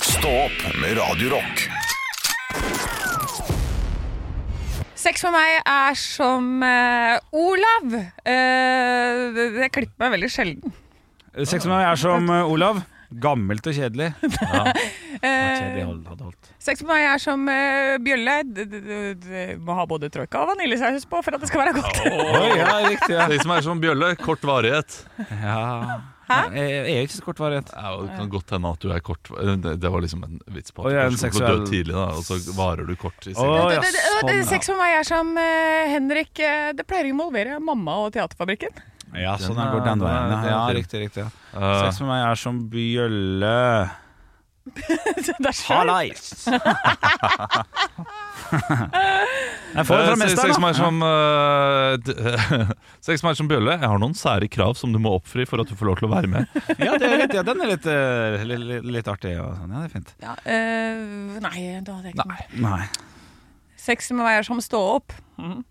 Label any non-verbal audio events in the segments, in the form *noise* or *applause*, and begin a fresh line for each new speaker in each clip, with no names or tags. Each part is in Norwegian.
Stå opp med Radio Rock.
Sex for meg er som eh, Olav. Eh, det, det klipper meg veldig sjelden.
Sex med meg er som eh, Olav. Gammelt og
*laughs*
kjedelig.
Eh, sex for meg er som eh, bjølle. D -d -d -d må ha både troika og vaniljesaus på for at det skal være godt.
Oi, ja, riktig, ja.
Det som er som bjølle, kort varighet.
ja.
Hæ?
Nei, Jeg er ikke så kort varighet.
Ja, og det kan godt hende at du er kort Det det var liksom en vits på
Å,
at
jeg er en
du kanskje kommer til å dø
seksuell-
tidlig, da, og så varer du kort i
Å,
senga.
ja,
*laughs* Det- det- det- det-
sånn, ja.
Sex for meg er som eh, Henrik. eh, Det pleier å involvere mamma og Teaterfabrikken. *laughs*
Ja, sånn er det går den veien. Ja, ja riktig, riktig. Ja.
Eh,
Sex med meg er som bjølle.
Det er så-
*laughs* Hallais! Jeg får det
eh,
fra
se- Sex
mesteren, da.
meg som eh, d- *laughs* Sex meg som bjølle. Jeg har noen sære krav som du må oppfri for at du får lov til å være
*laughs*
med.
Ja, det er litt, ja, den er litt, eh, li- li- litt artig. Og sånn. Ja, det er fint.
Ja, eh, nei, da hadde jeg ikke noe.
Nei.
Sex med meg er som stå opp. Mhm.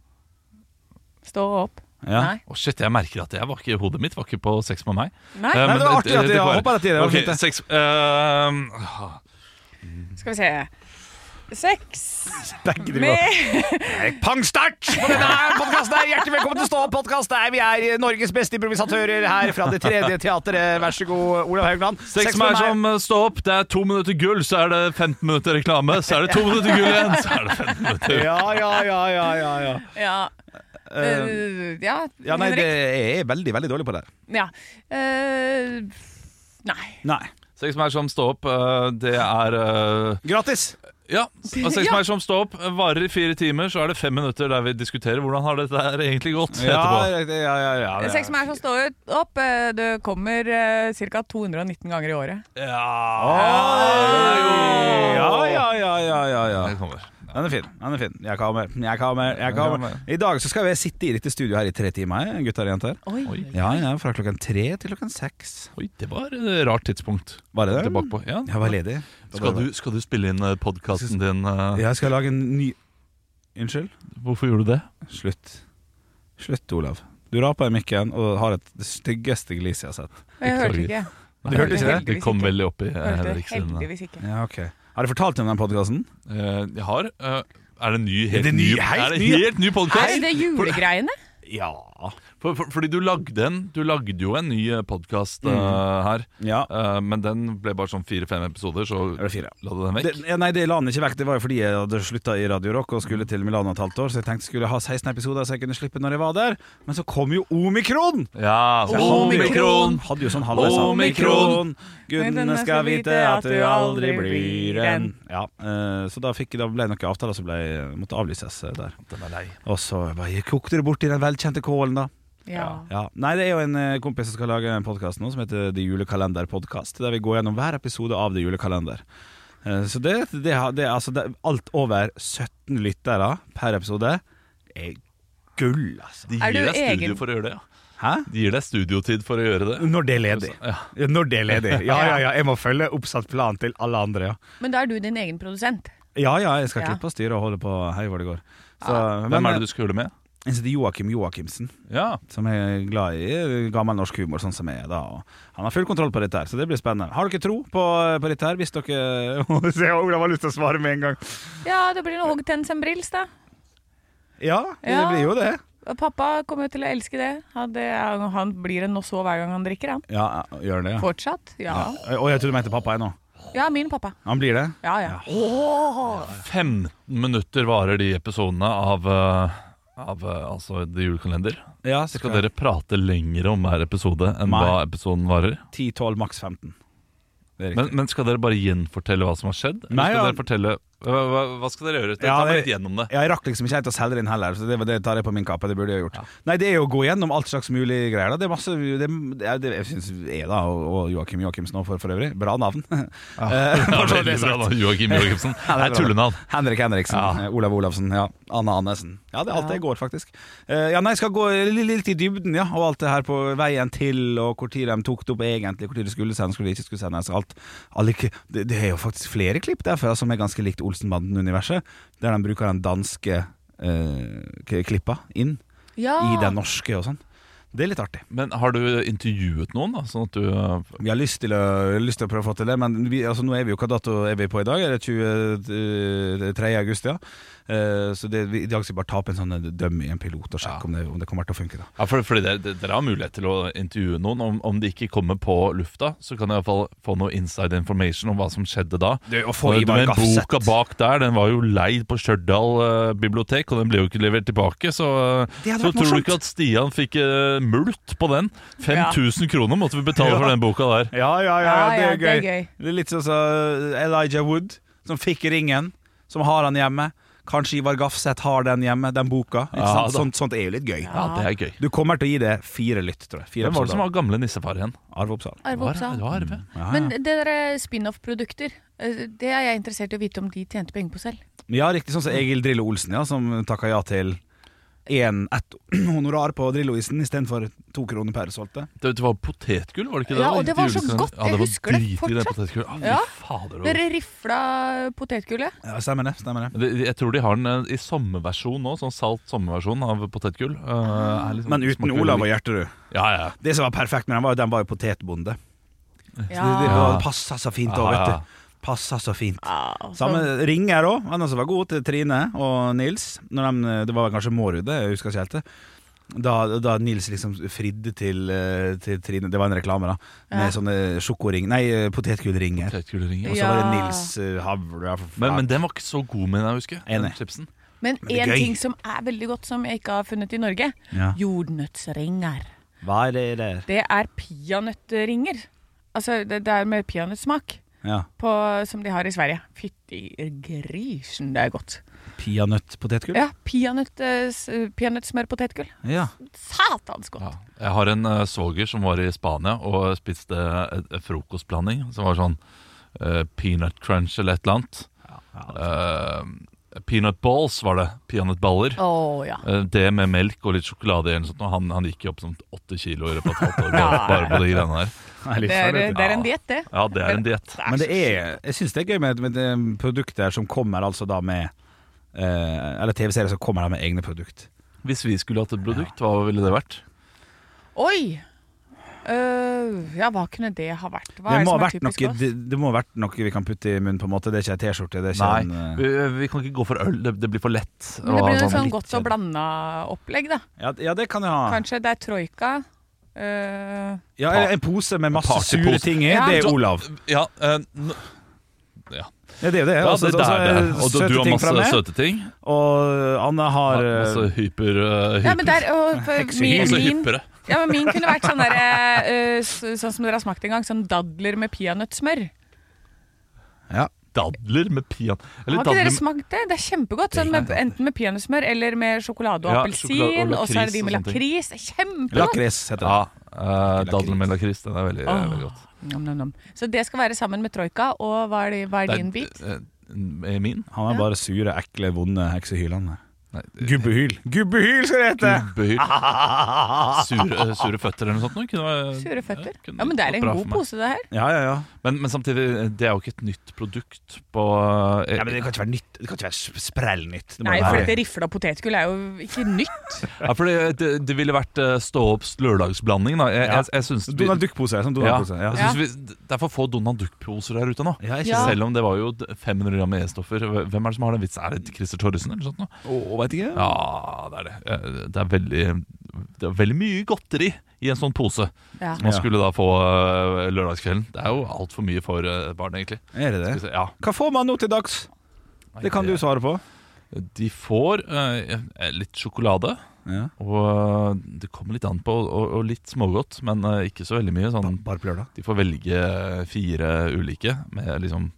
Stå opp.
Ja.
Nei.
Å shit, jeg merker at jeg var ikke, Hodet mitt var ikke på sex med meg.
Nei.
Eh,
Nei,
men
det var artig at jeg
går.
hoppa rett i det, det var
Ok,
fint, det.
sex, eh,
Skal vi se. Sex
Begge driver og-
med
Pangstart på denne podkasten her. Hjertelig velkommen til Stå opp-podkast. Vi er eh, Norges beste improvisatører her fra Det tredje teatret. Vær så god, Olav Haugland.
Sex med meg som eh, stå opp, det er to minutter gull, så er det 15 minutter reklame. Så er det to minutter gull igjen, så er det
*laughs*
15 minutter
Ja, ja, ja, ja. ja, ja.
Ja.
Eh,
Eh, ja,
ja nei,
Henrik.
det jeg er veldig, veldig dårlig på det.
Ja. Eh, nei.
Nei.
Sex med meg som stå opp, eh, det er eh,
Gratis.
Ja. Og
*laughs*
sex med meg som stå opp varer i fire timer, så er det fem minutter der vi diskuterer hvordan har dette her egentlig gått etterpå.
ja, ja, ja, ja.
Sex med meg som står ut- opp, eh, det kommer eh, ca. 219 ganger i året.
Ah,
Oi! Ja, ja, ja, ja, ja, ja.
Det kommer.
Den er fin. den er fin Jeg kommer, jeg kommer, jeg kommer. I dag så skal vi sitte i dette studioet her i tre timer, gutter og jenter.
Oi.
Ja, ja, Fra klokken tre til klokken seks.
Oi, det var et rart tidspunkt.
Var det det?
Tilbake på. Ja.
Jeg var ledig.
Skal, du, skal du spille inn podkasten din? eh,
Jeg skal lage en ny Unnskyld?
Hvorfor gjorde du det?
Slutt. Slutt, Olav. Du raper i mikken og har et det styggeste gliset jeg har sett.
Jeg hørte ikke.
Du hørte ikke det?
Det kom veldig opp i eh,
Hørte
Henrik sin eh,
heldigvis ikke.
Ja, ok Har du fortalt om den podkasten?
Eh, jeg har eh, Er det en ny, helt
det ny-
ny,
helt
er det
ny?
helt ny
Er
podkast?
det julegreiene?
Ja.
For, for, fordi du lagde en Du lagde jo en ny podkast
Mm.
her,
Ja.
eh, men den ble bare sånn fire-fem episoder, så
Er det fire?
la du den
Det,
vekk.
ja, nei, det la han ikke vekk. Det var jo fordi jeg hadde slutta i Radio Rock og skulle til Milano et halvt år, så jeg tenkte skulle jeg ha 16 episoder så jeg kunne slippe når jeg var der. Men så kom jo omikron!
Ja,
Så jeg hadde- Hadde jo sånn halvveis
Omikron!
Gudene skal vite at du aldri blir en Ja, eh, så da, fikk, da ble det noen avtaler som ble, måtte avlyses eh, der.
Den er lei.
Og så bare kokte det bort i den velkjente kålen, da.
Ja.
Ja. Nei, det er jo en eh, kompis som skal lage en podkast nå som heter The Julekalender Podcast. Der vi går gjennom hver episode av The Julekalender. Eh, Så det, det, har- det, altså, det er alt over 17 lyttere per episode. Det er gull, altså.
De
Er
gir
du
deg studio
egen-
for å gjøre det. Ja.
Hæ?
De gir deg studiotid for å gjøre det.
Når det er ledig. Ja, Når det er ledig. *laughs* Ja, ja, ja. Jeg må følge oppsatt plan til alle andre, ja.
Men da er du din egen produsent.
Ja, ja, jeg skal
Ja.
klippe og styre og holde på hei hvor det går. Så,
Hvem er det du skal gjøre det med?
Jeg heter Joakim Joakimsen,
Ja,
som er glad i gammel norsk humor, sånn som jeg er da. Og han har full kontroll på dette her, så det blir spennende. Har dere tro på, på dette her, hvis dere *laughs* Se, Olav har lyst til å svare med en gang.
Ja, det blir noe hoggtenns en brils, da.
Ja, det
Ja.
blir jo det.
Og Pappa kommer jo til å elske det. Han, det er- han blir en nosso hver gang han drikker, han.
Ja, gjør han det, ja.
Fortsatt. Ja.
Og jeg tror du mente pappa ennå.
Ja, min pappa.
Han blir det?
Ja, ja.
15 minutter varer de episodene av, eh, av eh, altså The Julekalender.
Ja,
Så skal dere prate lenger om hver episode enn
Nei.
hva episoden varer.
10-12, maks 15. Det er
Men,
riktig.
men skal dere bare gjenfortelle hva som har skjedd? Eller
Nei,
skal
ja.
dere fortelle Hva, hva- hva skal dere gjøre? Ta
Ja,
meg
det-
litt gjennom
*laughs*
det.
Ja, Jeg rakk liksom ikke helt å selge den heller, så det, var- det tar jeg på min kappe. Det burde jeg gjort. Nei, det er jo å gå gjennom alt slags mulige greier. Da. Det er masse det, det, det, Jeg syns Eda og, og Joakim Joakimsen òg, for, for øvrig. Bra navn. *laughs* Eh,
*laughs* Ja,
bare så det er
veldig bra
sagt.
da, Joakim
*laughs*
Jørgensen.
Ja,
Det
det
er
er bra.
tullenavn.
Henrik Henriksen,
Ja.
eh, Olav Olavsen, ja. Anne Annesen. Ja, det er alt det går, faktisk. Eh, ja, nei, jeg skal gå li- litt i dybden, ja, og alt det her på veien til, og hvor tid de tok det opp egentlig, hvor tid det skulle sendes, hvor det ikke skulle sendes, alt. Alle, k- det, det er jo faktisk flere klipp derfra som er ganske likt Olsenbanden-universet, der de bruker den danske eh, k- klippa inn
Ja.
Ah.
i den norske og sånn. Det er litt artig.
Men har du intervjuet noen, da? Sånn at du eh,
Vi har lyst til å, lyst til å prøve å få til det, men vi, altså, nå er vi jo hva dato er vi på i dag? Er det 23. august, ja? Eh, så det, vi, i dag skal vi bare ta opp en sånn dømme i en pilot og sjekke om, det, om det kommer til å funke. da
Ja, for, fordi dere, dere har mulighet til å intervjue noen. Om, om de ikke kommer på lufta, så kan jeg iallfall få noe inside information om hva som skjedde da.
Å
Og den boka bak der den var jo leid på Stjørdal eh, bibliotek, og den ble jo ikke levert tilbake. Så, eh,
Det hadde
så
vært
tror du
morsomt.
ikke at Stian fikk eh, mulkt på den? 5000 kroner måtte vi betale for den boka der.
Ja, ja, ja,
Ja,
det
ja,
er gøy. Det er, litt sånn som Elijah Wood, som fikk ringen, som har han hjemme. Kanskje Ivar Gafseth har den hjemme, den boka. Ikke
Ja,
sant?
da.
Sånt, sånt er jo litt gøy.
Ja, det er gøy.
Du kommer til å gi det fire lytt, tror jeg. Fire
Hvem var det som
episoder.
var gamle nissefar igjen?
Arve Oppsal.
Det
Arve
var,
Oppsal.
det var Arve.
Ja,
Men
Ah, ja.
det der spin-off-produkter, eh, det er jeg interessert i å vite om de tjente penger på selv.
Ja, riktig sånn som Egil Drillo Olsen, ja, som takka ja til en, ett honorar på Drillo-isen istedenfor to kroner per solgte.
Det, det var potetgull, var det ikke det?
Ja,
da?
og det var så
Julekalender.
godt, jeg husker det
Ja, det var dritgodt, det
fortsatt.
potetgullet. Ah, fy
Ja.
fader, det var-
Dere rifla potetgullet.
Ja, stemmer det. stemmer det
Det- det- Jeg tror de har den eh, i sommerversjon nå, sånn salt sommerversjon av potetgull. Eh, er litt sånn-
Men uten
smaker
Olav og
veldig-
Gjerterud.
Ja, ja.
Det som var perfekt med den, var jo den var jo potetbonde.
Ja.
Det, det
Ja.
var- passa så fint òg, vet
Ja.
du. Passa så fint.
Ja, så-
Samme ringer òg, han som var god til Trine og Nils. Når de, det var vel kanskje Mårud, det, jeg husker ikke helt det. Da, da Nils liksom fridde til, eh, til Trine, det var en reklame, da, med
Ja.
sånne sjokoring... Nei, eh, potetgullringer.
Potetgullringer. altså.
Og så var det
Ja.
Nils eh, Havre ja, for faen.
Men, men den var ikke så god med den, jeg husker. Den
Enig.
chipsen.
Men
Men det er
én
gøy.
ting som er veldig godt, som jeg ikke har funnet i Norge.
ja.
Jordnøttsringer.
Hva er det der?
Det er peanøttringer. Altså, det, det er med peanøttsmak.
Ja.
på- Som de har i Sverige. Fytti grisen, det er godt.
Peanøttpotetgull?
Ja, peanøtt, eh, s- Peanøttsmørpotetgull.
Ja.
Satans godt.
Ja. Jeg har en eh, svoger som var i Spania og spiste et- et frokostblanding som var sånn eh, peanut crunch eller et eller annet. Eh, peanut balls var det. Peanøttballer.
Å ja.
Eh, Det med melk og litt sjokolade i eller noe sånt, og han, han gikk jo opp som 8 kilo i løpet av et halvt
*laughs*
år bare, bare på de greiene der.
Det er, det er en diett, det.
Ja, det er en diett.
Men det er, jeg syns det er gøy med, med det produkter som kommer altså da med eh, Eller TV-serier som kommer da med egne produkt.
Hvis vi skulle hatt et produkt, hva ville det vært?
Oi! Øh, ja, hva kunne det ha vært? Hva
Det
er det
må,
som er
ha vært
typisk
noe,
oss?
det, det må ha vært noe vi kan putte i munnen, på en måte. Det er ikke ei T-skjorte. Det er ikke
Nei,
en, eh,
vi, vi kan ikke gå for øl, det, det blir for lett.
Men det
Og
blir jo
sånn-
en sånn
litt
godt og
kjedelig.
blanda opplegg, da.
ja, ja, det kan jeg ha.
Kanskje det er troika. øh,
Ja, eller en pose med masse
Partypose.
sure ting i.
Ja.
Det er Olav.
Ja, eh, n-
Ja, det er jo det.
ja
Altså,
det, det
altså,
er det. Og du,
søte
du har
ting fra meg,
masse søte ting.
Og Anne har
Ja,
eh,
masse hyper... eh,
ja, men
hyper.
der, og, for, min,
Masse
min,
hyppere.
ja, men min kunne vært sånn der, øh, s- sånn som dere har smakt en gang, sånn dadler med peanøttsmør.
Dadler med peanøtt.
Har ikke dere smakt det? Det er kjempegodt. Sånn med, enten med peanøttsmør eller med sjokolade og
Ja,
appelsin.
sjokolade og
Og så er det de med
lakris og sånne ting.
lakris. Det er Kjempegodt!
eh, Lakris, heter det.
Ja, eh, dadler med lakris. Den er veldig,
Åh.
veldig godt.
Nom, nom, nom. Så det skal være sammen med troika. Og hva er, det, hva er din
Det
bit?
er- eh, eh, Min?
Han er
Ja.
bare sure, ekle, vonde heksehyllene.
Nei,
Gubbehyl. Gubbehyl skal det hete!
Behyr. *laughs* Sure, eh, sure føtter eller noe sånt. nå, Kunne være,
Sure føtter.
Ja, kunne
Ja, men det er
gått
en
bra
god
for meg.
pose, det her.
*laughs* Ja, ja, ja.
Men, men samtidig, eh, det er jo ikke et nytt produkt på eh,
ja men det kan ikke være nytt. Det kan ikke være sp- sprell nytt. Det må
Nei,
jo
for
være-
dette rifla potetgull er jo ikke
*laughs*
nytt.
ja, fordi det, det ville vært eh, stå-opps lørdagsblanding, da. Jeg,
Ja.
jeg, jeg syns
Donald Duck-pose. Sånn
ja,
Donald Duck-pose. Ja.
jeg synes vi, det er for få Donald Duck-poser der ute nå.
Ja,
Ja.
Selv om det var jo d- 500 gram med E-stoffer. Hvem er det som har den vitsen? Er det Christer Torresen eller noe sånt? nå?
vet ikke.
Ja, det er det. Eh, Det er veldig, det er veldig mye godteri i en sånn pose.
Ja.
Man
Ja.
skulle da få eh, lørdagskvelden. Det er jo altfor mye for eh, barn, egentlig.
Er det
Skal
det?
vi se, ja.
Hva får man nå til dags? Det kan du svare på.
De får eh, litt sjokolade.
Ja.
Og eh, det kommer litt an på, og, og litt smågodt, men eh, ikke så veldig mye. Sånn,
Bare på lørdag.
de får velge fire ulike, med liksom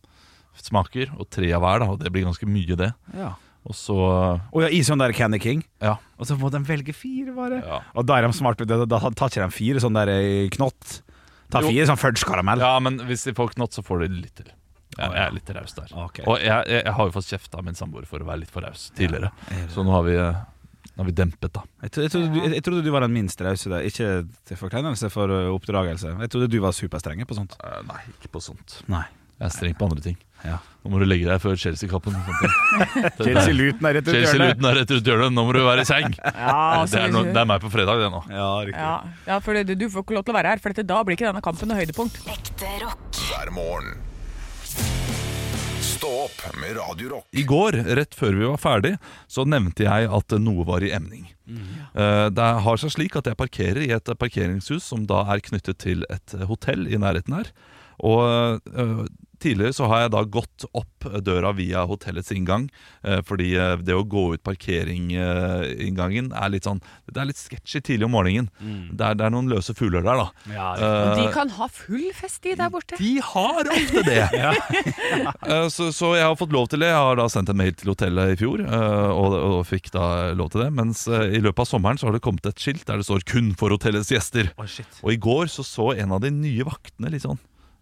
smaker, og tre av hver, da, og det blir ganske mye, det.
Ja.
Og så
Og ja, i sånn der Candy King.
Ja.
Og så må de velge fire, bare.
Ja,
Og da er de smart, da, da tar ikke de fire sånn der eh, knott. Ta
Jo.
fire sånn fudge-karamell.
ja men hvis de får knott, så får de litt til. Jeg, jeg er litt raus der.
Ok.
Og jeg, jeg, jeg har jo fått kjeft av min samboer for å være litt for raus tidligere, så nå har vi, eh, nå har vi dempet, da.
Jeg, trodde, jeg, trodde, du- jeg trodde du var den minst rause der. Ikke til forkleinelse for eh, oppdragelse. Jeg trodde du var superstrenge på *laughs* sånt.
Eh, nei, ikke på sånt.
Nei.
Jeg er streng på andre ting.
Ja.
Nå må du legge deg før Chelsea-kappen. og sånne *laughs* ting. Det-
Chelsea-luten er rett ut i hjørnet.
Chelsea-luten er rett rundt hjørnet, nå må du være i seng!
*laughs* Ja,
det, er no, det er meg på fredag, det nå.
Ja, riktig.
ja, ja, for det, du får ikke lov til å være her, for dette, da blir ikke denne kampen noe høydepunkt.
Ekte rock.
hver morgen. Stå opp med Radio Rock.
I går, rett før vi var ferdig, så nevnte jeg at noe var i emning.
Mm.
Eh, Det har seg slik at jeg parkerer i et parkeringshus som da er knyttet til et hotell i nærheten her. Og eh, tidligere så har jeg da gått opp døra via hotellets inngang, eh, fordi eh, det å gå ut parkeringinngangen er litt sånn Det er litt sketchy tidlig om morgenen. Det, er, det er noen løse fugler der, da.
Mm. Og de
Eh,
kan ha full fest, de der borte.
de har ofte
*laughs*
det. Eh, så, så jeg har fått lov til det. Jeg har da sendt en mail til hotellet i fjor eh, og, og fikk da lov til det. Mens eh, i løpet av sommeren så har det kommet et skilt der det står 'kun for hotellets gjester'. Og i går så så en av de nye vaktene litt sånn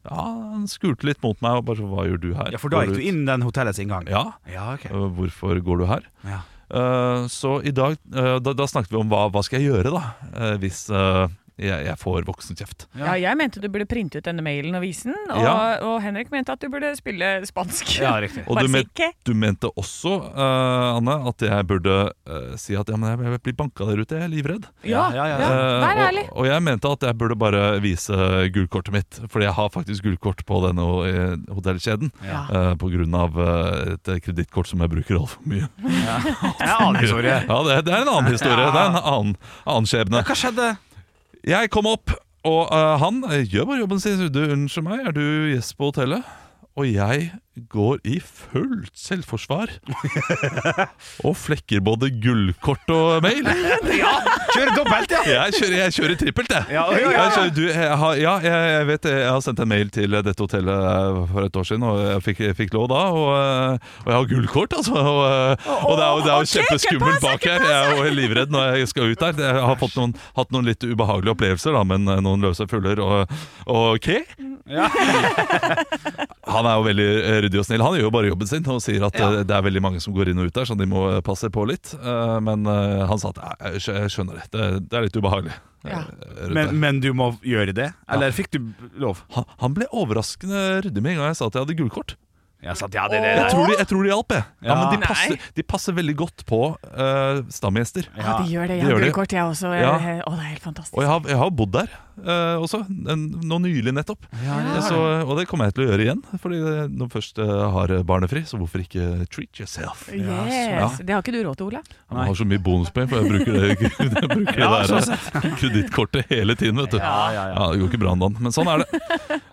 Ja, han skulte litt mot meg og bare så, 'hva gjør du her?'
Ja, for da
Går
gikk du
ut?»
inn den hotellets inngang.
Ja.
Ja, ok.
eh, Hvorfor går du her?
Ja.
Eh, så i dag eh, da, da snakket vi om hva, hva skal jeg gjøre da, eh, hvis eh, jeg, jeg får voksenkjeft.
Ja, jeg mente du burde printe ut denne mailen og vise den, og,
Ja.
og Henrik mente at du burde spille spansk.
Ja, riktig.
Og
*laughs* Bare
du
si
men-
ikke.
Du mente også, eh, Anne, at jeg burde eh, si at ja, men jeg, jeg blir banka der ute, jeg er livredd.
Ja, ja,
Ja, ja, ja.
vær
Eh,
ærlig.
og, og jeg mente at jeg burde bare vise gullkortet mitt, fordi jeg har faktisk gullkort på denne eh, hotellkjeden.
Ja.
eh, på grunn av eh, et kredittkort som jeg bruker altfor mye.
*laughs*
Jeg aner ikke, sorry.
*laughs* Ja, det, det er en annen historie. Det er en annen, annen skjebne.
Hva skjedde?
Jeg kom opp, og eh, han eh, gjør bare jobben sin. Du, unnskyld meg, er du gjest på hotellet? Og jeg går i fullt
*laughs*
selvforsvar og flekker både gullkort og mail.
Kjør dobbelt, ja!
Jeg kjører, jeg kjører trippelt, jeg.
Ja, ja, ja.
Jeg kjører, du, jeg har, ja, jeg, jeg vet det. Jeg har sendt en mail til dette hotellet eh, for et år siden, og jeg fikk, jeg fikk lov da. Og, eh, og jeg har gullkort, altså. Og, eh, og det er jo, det er jo
Ok,
kjempeskummelt
ikke pass,
bak her. Jeg er jo livredd når jeg skal ut der. Jeg har fått noen, hatt noen litt ubehagelige opplevelser, da, men eh, noen løse fugler og, og ok.
Ja.
*laughs* Han er jo veldig eh, ryddig og snill. Han gjør jo bare jobben sin og sier at eh, det er veldig mange som går inn og ut der, så de må eh, passe på litt. Eh, Men eh, han sa at "Nei, jeg skjø- jeg skjønner det, det, det er litt ubehagelig. eh,
Ja.
rundt der."
Men, men du må gjøre det? Eller fikk du lov?
Han, han ble overraskende ryddig med en gang jeg sa at jeg hadde gullkort.
Jeg sa ja, det, det,
Jeg
det.
tror de, jeg tror de hjalp, jeg. Ja,
Ja.
men de
Nei.
passer, de passer veldig godt på eh, stamgjester.
Ja, de gjør det.
de
Jeg
gjør
har
det.
gullkort, jeg også.
Ja.
Eh, Å, det er helt fantastisk.
Og jeg har, jeg har bodd der eh, også, en, nå nylig nettopp. Så, og det kommer jeg til å gjøre igjen, fordi det- når først eh, har barnefri, så hvorfor ikke treat yourself?
Yes.
Ja.
Det har ikke du råd til, Ole.
Han har så mye bonuspoeng, for jeg bruker det, *laughs* jeg bruker
Ja, sånn
det der eh, kredittkortet hele tiden, vet du.
Ja, ja, ja.
Ja, det går ikke bra om dagen, men sånn
*laughs*
er det.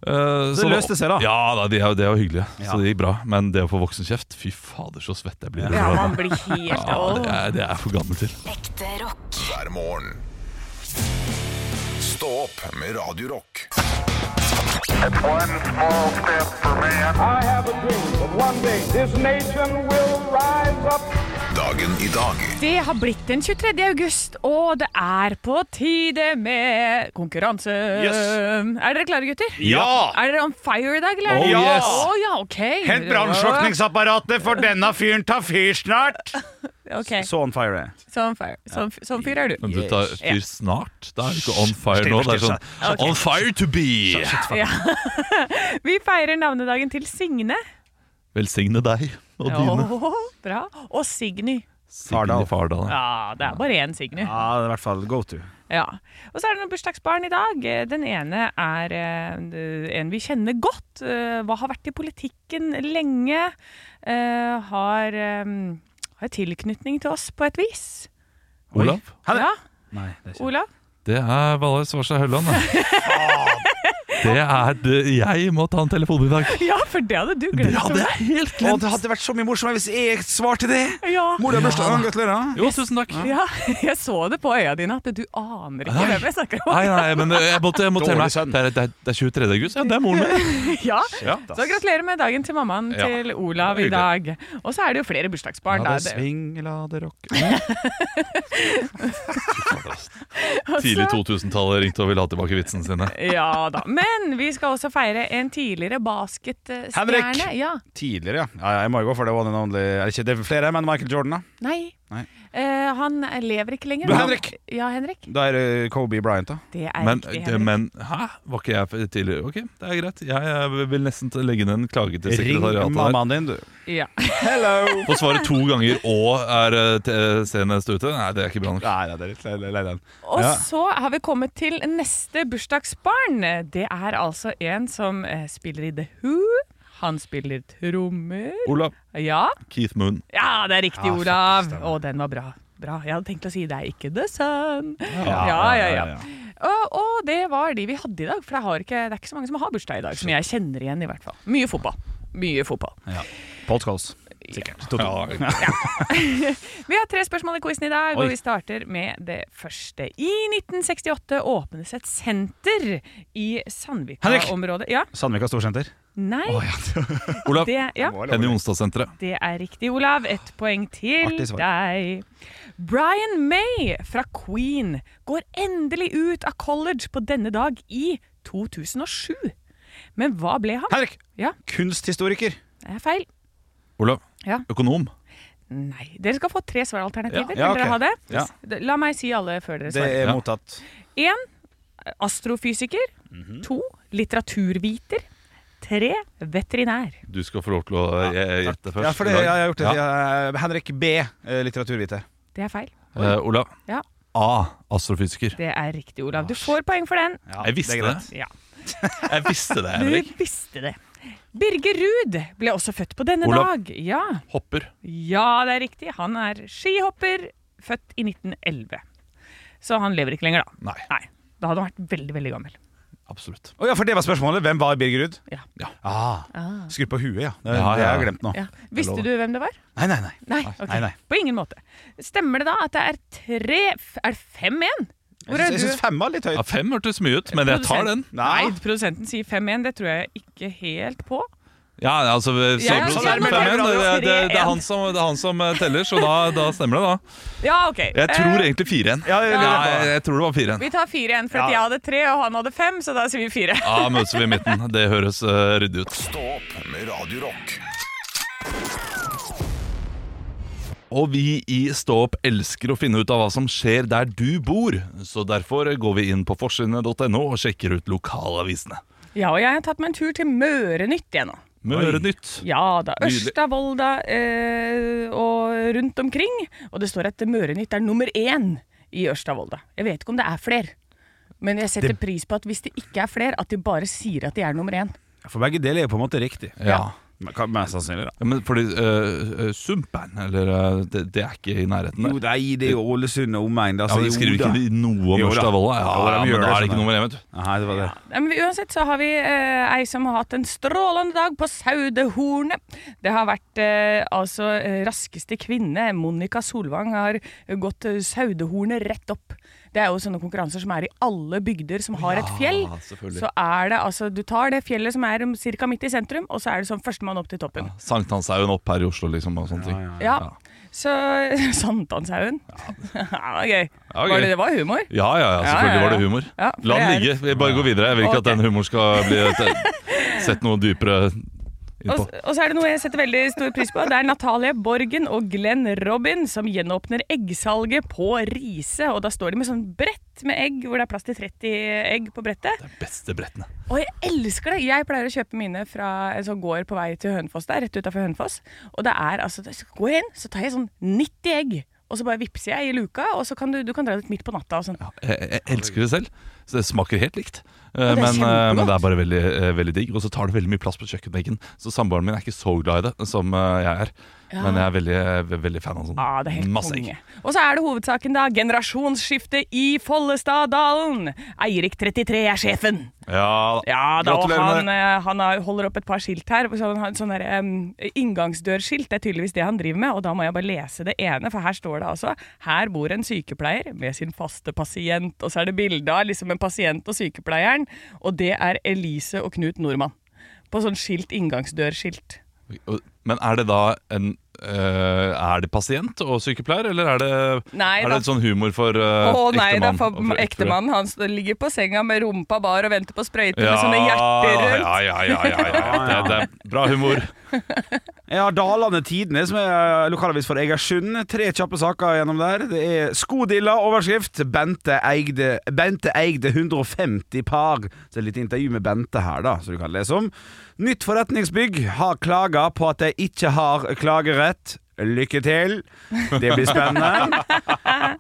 Eh,
Så det løste seg da.
Ja, da, de er, jo- de er jo hyggelige,
Ja.
så det gikk bra. Men det å få voksenkjeft, fy fader, så svett jeg blir.
Ja, man blir helt *laughs*
Ja, det, er, det er jeg for gammel til.
Ekte rock.
hver morgen. Stå opp med Radio Rock.
One small step for man. I have a dream that one day this nation will rise up.
Dagen i dag
Det har blitt den 23. august, og det er på tide med konkurranse.
Yes.
Er dere klare, gutter?
Ja!
Er dere on fire i dag, eller?
Oh,
Ja! yes.
Å, ja, ok.
Hent brannslukningsapparatet, for denne fyren tar fyr snart!
Ok,
Så on fire. er jeg.
sånn fire. Sånn, sånn fyr er du.
Men du tar fyr snart. Det er jo ikke on fire
Stille,
nå. Det er
stille,
sånn On fire to be!
Ja. Vi feirer navnedagen til Signe.
Velsigne deg og dine.
Åh, bra. Og Signy.
Signe
Fardal.
Fardal. ja.
Ja, det er bare én Signy.
Ja, det er i hvert fall go to.
Ja. Og så er det noen bursdagsbarn i dag. Eh, Den ene er eh, en vi kjenner godt. eh, Hva har vært i politikken lenge. eh, Har, eh, har tilknytning til oss på et vis.
Olav,
Hæ?
Ja,
Nei, det er ikke
Olav?
*laughs*
det er Valle Svarstad Hølland. da. Det er det. Jeg må ta en telefon i dag.
Ja, for det hadde du
Det
glemt.
hadde jeg helt
Å,
glemt.
det hadde vært så mye morsommere hvis jeg svarte det!
Ja.
Mor, du har bursdag. Gratulerer.
Jo, tusen takk. Nei,
ja, *laughs* jeg så det på øya dine at du aner ikke
Nei.
hvem jeg snakker om.
nei, men eh, jeg må, jeg må telle
Dårlig
meg.
sønn.
Det er, det er, det er 23. august. Ja, det er moren min. *laughs*
*laughs* Ja.
Ja.
Så gratulerer med dagen til mammaen
Ja.
til Olav i
Hyggelig.
dag. Og så er det jo flere bursdagsbarn.
La
da.
det
Det-
swing, la det rocke. Altså-
og *laughs* så-
Tidlig 2000-tallet ringte og ville ha tilbake vitsene sine.
Ja da. Men vi skal også feire en tidligere basketstjerne.
Henrik!
Ja.
Tidligere, ja. ja. ja, Jeg må jo gå for det one and only Eller ikke, det er flere, men Michael Jordan, da.
Nei.
Nei.
Eh, han lever ikke lenger.
Men Henrik!
Ja, Henrik.
Da er det Kobe Bryant, da.
Det er
Men,
riktig, Henrik.
men hæ? Var ikke jeg for tidlig? Ok, det er greit. Jeg, eh, vil nesten legge ned en klage til
Ring
sekretariatet.
mammaen din, du.
Ja.
Hello!
Få svaret to ganger og er eh, t- eh, senest ute? Nei, det er ikke bra nok.
Nei, nei, det er litt lei- lei lei den.
Og
Ja.
så har vi kommet til neste bursdagsbarn. Det er altså en som eh, spiller i The Who. Han spiller trommer.
Olav
Ja,
Keith Moon.
ja det er riktig,
Ja,
Olav.
faktisk, det er det.
Å, den var bra. Bra. Jeg hadde tenkt å si det er ikke The Sun. ja, ja.
ja.
Og, og det var de vi hadde i dag, for det, har ikke, det er ikke så mange som har bursdag i dag. Som jeg kjenner igjen, i hvert fall. Mye fotball. Mye fotball.
Podcast. Sikkert. Ja.
Vi har tre spørsmål i quizen i dag,
Oi.
og vi starter med det første. I 1968 åpnes et senter i Sandvika-området. Ja,
Sandvika Storsenter.
nei,
Olav
det, ja,
Henny Onsdagssenteret.
det er riktig, Olav. Et poeng til
Artig svar.
deg. Brian May fra Queen går endelig ut av college på denne dag i 2007. Men hva ble han?
Henrik!
Ja.
Kunsthistoriker.
Det er feil.
Olav
Ja.
økonom.
Nei. Dere skal få tre svaralternativer.
Ja. Ja,
Vil dere
ok.
ha det?
Ja.
La meg si alle før dere
Det
svarer.
er
Ja.
mottatt.
Én astrofysiker.
Mhm.
To litteraturviter. Tre veterinær.
Du skal få lov til å eh, gjette først.
Ja, for det,
Olav.
jeg har gjort det.
Ja.
Jeg- Henrik B, eh, litteraturviter.
Det er feil.
Eh, Olav
Ja.
A. Astrofysiker.
Det er riktig, Olav. Du får poeng for den.
Ja,
Jeg visste
er
det.
greit.
Ja,
Jeg visste det,
Du
Henrik.
visste det. Birger Ruud ble også født på denne
Olav.
dag. Ja.
Hopper.
ja, det er riktig. Han er skihopper, født i 1911. Så han lever ikke lenger, da.
Nei,
Nei. Da hadde han vært veldig, veldig gammel.
absolutt.
Å ja, for det var spørsmålet. Hvem var Birger Ruud?
Ja.
Ja.
Ah, skru på huet, ja. Det,
Ja,
det har
ja.
jeg glemt nå.
Ja. Visste du hvem det var?
Nei, nei, nei.
Nei, ok.
nei, nei.
På ingen måte. Stemmer det da at det er tre f- Er det fem igjen? Hvor er
Jeg syns- jeg syns
du?
fem var litt høyt.
Ja, fem hørtes mye ut, men jeg tar den.
Nei, produsenten sier fem igjen. Det tror jeg ikke helt på.
Ja, altså så
Ja, ja,
så-
ja,
fem
men det er
igjen,
bra,
det,
det er
det, det er
tre, *laughs*
han som, det er han som eh, teller, så da, da stemmer det, da.
Ja, ok.
Jeg tror
Eh,
egentlig fire igjen.
Ja, jeg-
Ja, jeg, jeg tror det var fire igjen.
vi tar fire igjen, for at
Ja.
jeg hadde tre, og han hadde fem, så da sier vi fire.
Ja, møtes vi i midten. Det høres eh, ryddig ut.
Stå opp med Radio Rock.
Og vi i Stå opp elsker å finne ut av hva som skjer der du bor, så derfor går vi inn på forsidene.no og sjekker ut lokalavisene.
Ja, og jeg har tatt meg en tur til Mørenytt igjen nå.
Mørenytt.
Ja da.
Nydelig.
Ørsta, Volda eh, og rundt omkring. Og det står at Mørenytt er nummer én i Ørsta, Volda. Jeg vet ikke om det er flere. Men jeg setter pris på at hvis det ikke er flere, at de bare sier at de er nummer én.
For begge deler er jo på en måte riktig.
Ja.
Men hva- Mest sannsynlig, da.
Ja, Men fordi uh, Sumpen, eller eh, det, det er ikke i nærheten
Jo,
der.
nei, det er jo Ålesund og omegn.
Ja, men De skriver ikke noe om
Jo da.
Ørstavolla. Ja,
Jo da,
ja,
de gjør det
men da er det
sånn,
ikke nummer én, vet du.
Nei, det var det.
Nei, Men uansett så har vi eh, ei som har hatt en strålende dag på Saudehornet. Det har vært eh, altså eh, raskeste kvinne. Monica Solvang har gått eh, Saudehornet rett opp. Det er jo sånne konkurranser som er i alle bygder som har et fjell.
selvfølgelig.
Så er det altså Du tar det fjellet som er ca. midt i sentrum, og så er det sånn førstemann opp til toppen.
Sankthanshaugen opp her i Oslo, liksom. Og sånne ting.
Ja. Så *laughs* Sankthanshaugen. *laughs* Ja, det var gøy.
var
Var
gøy.
det, det var humor.
Ja, ja, ja,
Ja, ja,
selvfølgelig
ja.
var det humor.
Ja, for
La
det
den
er-
ligge. Vi bare går videre. Jeg vil ikke
Ok.
at den humoren skal bli
*laughs*
et, sett noe dypere inn
Og,
på.
og så er det noe jeg setter veldig stor pris på. Det er Natalie Borgen og Glenn Robin som gjenåpner eggsalget på Riise. Og da står de med sånn brett med egg, hvor det er plass til 30 egg på brettet.
Beste brettene.
Og jeg elsker det! Jeg pleier å kjøpe mine fra en sånn gård på vei til Hønefoss der, rett utafor Hønefoss. Og det er altså Så går jeg inn, så tar jeg sånn 90 egg. Og så bare vippser jeg i luka, og så kan du, du kan dra dit midt på natta og sånn.
Jeg, jeg elsker det selv. Så det smaker helt likt. Eh,
det er
Men, eh,
kjempegodt.
men det er bare veldig, eh, veldig digg. Og så tar det veldig mye plass på kjøkkenbenken. Så samboeren min er ikke så glad i det som eh, jeg er. Men jeg er veldig, ve- veldig fan av sånn.
Ja, Ah, det er helt
Masse egg.
konge. Og så er det hovedsaken, da. Generasjonsskifte i Follestaddalen. Eirik 33 er sjefen.
Ja,
Ja, da, og
Gratulerer
han,
med
eh, han har- holder opp et par skilt her. Så han har et sånn der, em, inngangsdørskilt. Det er tydeligvis det han driver med. Og da må jeg bare lese det ene, for her står det altså Her bor en sykepleier med sin faste pasient. Og så er det bilde av liksom en pasient og sykepleieren, og det er Elise og Knut Nordmann. På sånn skilt, inngangsdørskilt.
Og- Men er det da en eh, Er det pasient og sykepleier, eller er det,
Nei da.
er det et sånn humor for uh,
Å nei, da
ektemann? altså,
for
og for
ektemann. Han står- ligger på senga med rumpa bar og venter på sprøyter
Ja,
med sånne hjerter rundt.
ja, ja, ja, ja, ja. Det, det er bra humor.
Jeg har Dalane Tidene, som er eh, lokalavis for Egersund. Tre kjappe saker gjennom der. Det er Skodilla, overskrift. Bente eide, Bente eide 150 par. Så et lite intervju med Bente her, da, som du kan lese om. Nytt forretningsbygg har klaga på at de ikke har klagerett. Lykke til. Det blir spennende.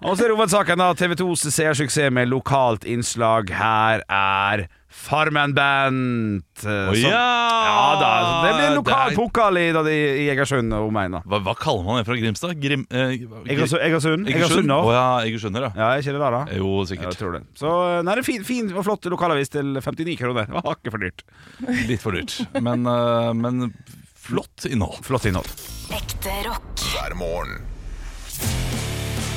Og så er hovedsaken da TV 2s seersuksess med lokalt innslag. Her er eh, Farmen-band.
Å, ja!
sånn- Ja da, så det blir en lokal
Ah, Det er-
pokal i, da, i i Egersund og omegn. da.
Hva, hva kaller man det fra Grimstad? Grim... Eh, gr-
Egersu- Egersund?
Egersunder?
Egersunder.
Å ja, Egersunder, ja.
Ja, er ikke det der, da?
Jo,
Ja, jeg
sikkert.
tror det. Så eh, nei, det er en fin, fin og flott lokalavis til 59 kroner. Det var hakket for dyrt.
Litt for dyrt. Men, eh, men flott innhold.
Flott innhold.
Ekte rock.
hver morgen.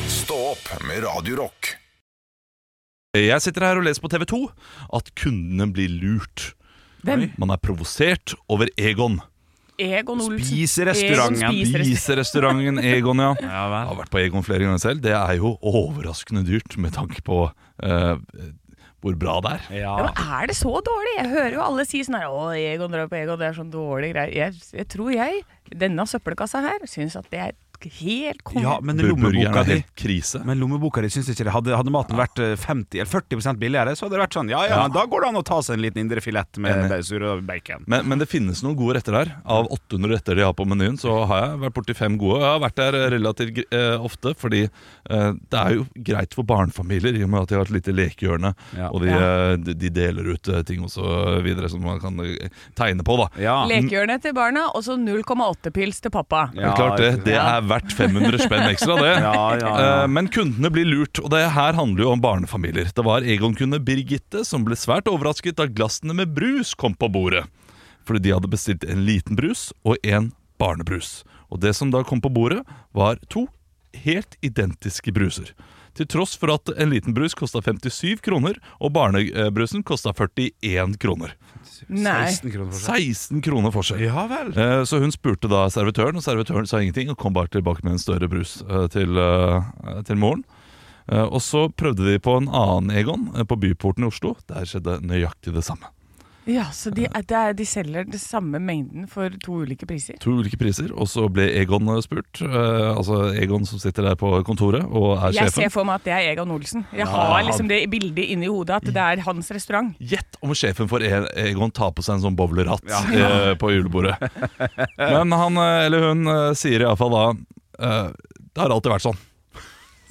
Stå opp med Radio Rock.
Jeg sitter her og leser på TV 2 at kundene blir lurt.
Hvem?
Man er provosert over Egon.
Egon Olsen.
Spiserestauranten.
Egon Spiser-
Viserestauranten Egon, ja.
Ja
Jeg
vel.
har vært på Egon flere ganger selv. Det er jo overraskende dyrt med tanke på eh, hvor bra det er.
Ja.
Ja, men er det så dårlig? Jeg hører jo alle si sånn her Å, Egon drar på Egon, det er sånn dårlig greier. Jeg, jeg tror jeg, denne søppelkassa her, syns at det er helt konge.
ja, men
Burgeren
lommeboka
er
di
helt krise.
men lommeboka di syns ikke det. Hadde, hadde maten vært eh, 50 eller 40 billigere, så hadde det vært sånn Ja, ja, men da går det an å ta seg en liten indre filett med surre bacon.
Men, men det finnes noen gode retter der. Av 800 retter de har på menyen, så har jeg vært borti fem gode. Jeg har vært der relativt eh, ofte, fordi eh, det er jo greit for barnefamilier, i og med at de har et lite lekehjørne,
Ja.
og de, eh, de- de deler ut eh, ting og så videre som man kan eh, tegne på, da.
Ja.
Lekehjørnet til barna, og så 0,8-pils til pappa.
Ja,
Men klart det, det
ja.
er verdt 500 spenn ekstra, det.
*laughs* Ja, ja, ja.
Eh, Men kundene blir lurt, og det her handler jo om barnefamilier. Det var Egon-kunde Birgitte som ble svært overrasket da glassene med brus kom på bordet. Fordi de hadde bestilt en liten brus og en barnebrus. Og det som da kom på bordet, var to helt identiske bruser. Til tross for at en liten brus kosta 57 kroner, og barnebrusen kosta 41 kroner.
Nei.
16 kroner for seg.
16 kroner forskjell.
Ja vel.
Eh, Så hun spurte da servitøren, og servitøren sa ingenting og kom bare tilbake med en større brus eh, til, eh, til moren. Eh, Og så prøvde de på en annen Egon eh, på Byporten i Oslo. Der skjedde nøyaktig det samme.
Ja, så de, er- det er, de selger den samme mengden for to ulike priser.
To ulike priser, og så ble Egon eh, spurt. eh, Altså Egon som sitter der på kontoret og er
Jeg ser
sjefen.
for meg at det er Egon Olsen. Jeg har liksom det bildet inni hodet at det
Mm.
er hans restaurant.
Gjett om sjefen for E- Egon tar på seg en sånn bowlerhatt eh, på julebordet. Men han eh, eller hun eh, sier iallfall da eh, Det har alltid vært sånn.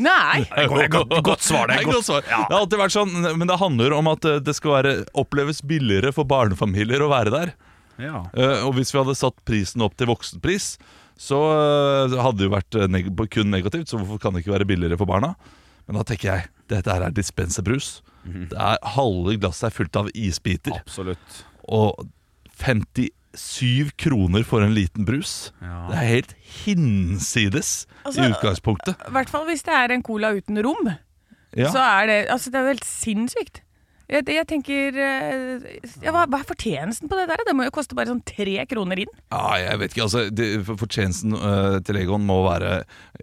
Nei!
Det er godt, svar. *laughs* Det, har alltid vært sånn, men det handler om at eh, det skal være, oppleves billigere for barnefamilier å være der.
Ja.
Eh, Og hvis vi hadde satt prisen opp til voksenpris, så eh, hadde det jo vært eh, neg kun negativt, så hvorfor kan det ikke være billigere for barna? Men da tenker jeg, dette her er dispenserbrus. Det er Halve glasset er fullt av isbiter,
Absolutt.
og 57 kroner for en liten brus.
Ja.
Det er helt hinsides i
Altså,
utgangspunktet.
I hvert fall hvis det er en cola uten rom.
Ja.
så er det Altså, det er jo helt sinnssykt. Jeg, det- jeg tenker eh, ja, hva, hva er fortjenesten på det der? Det må jo koste bare sånn tre kroner inn.
Ja, jeg vet ikke, altså det, for- Fortjenesten øh, til Egon må være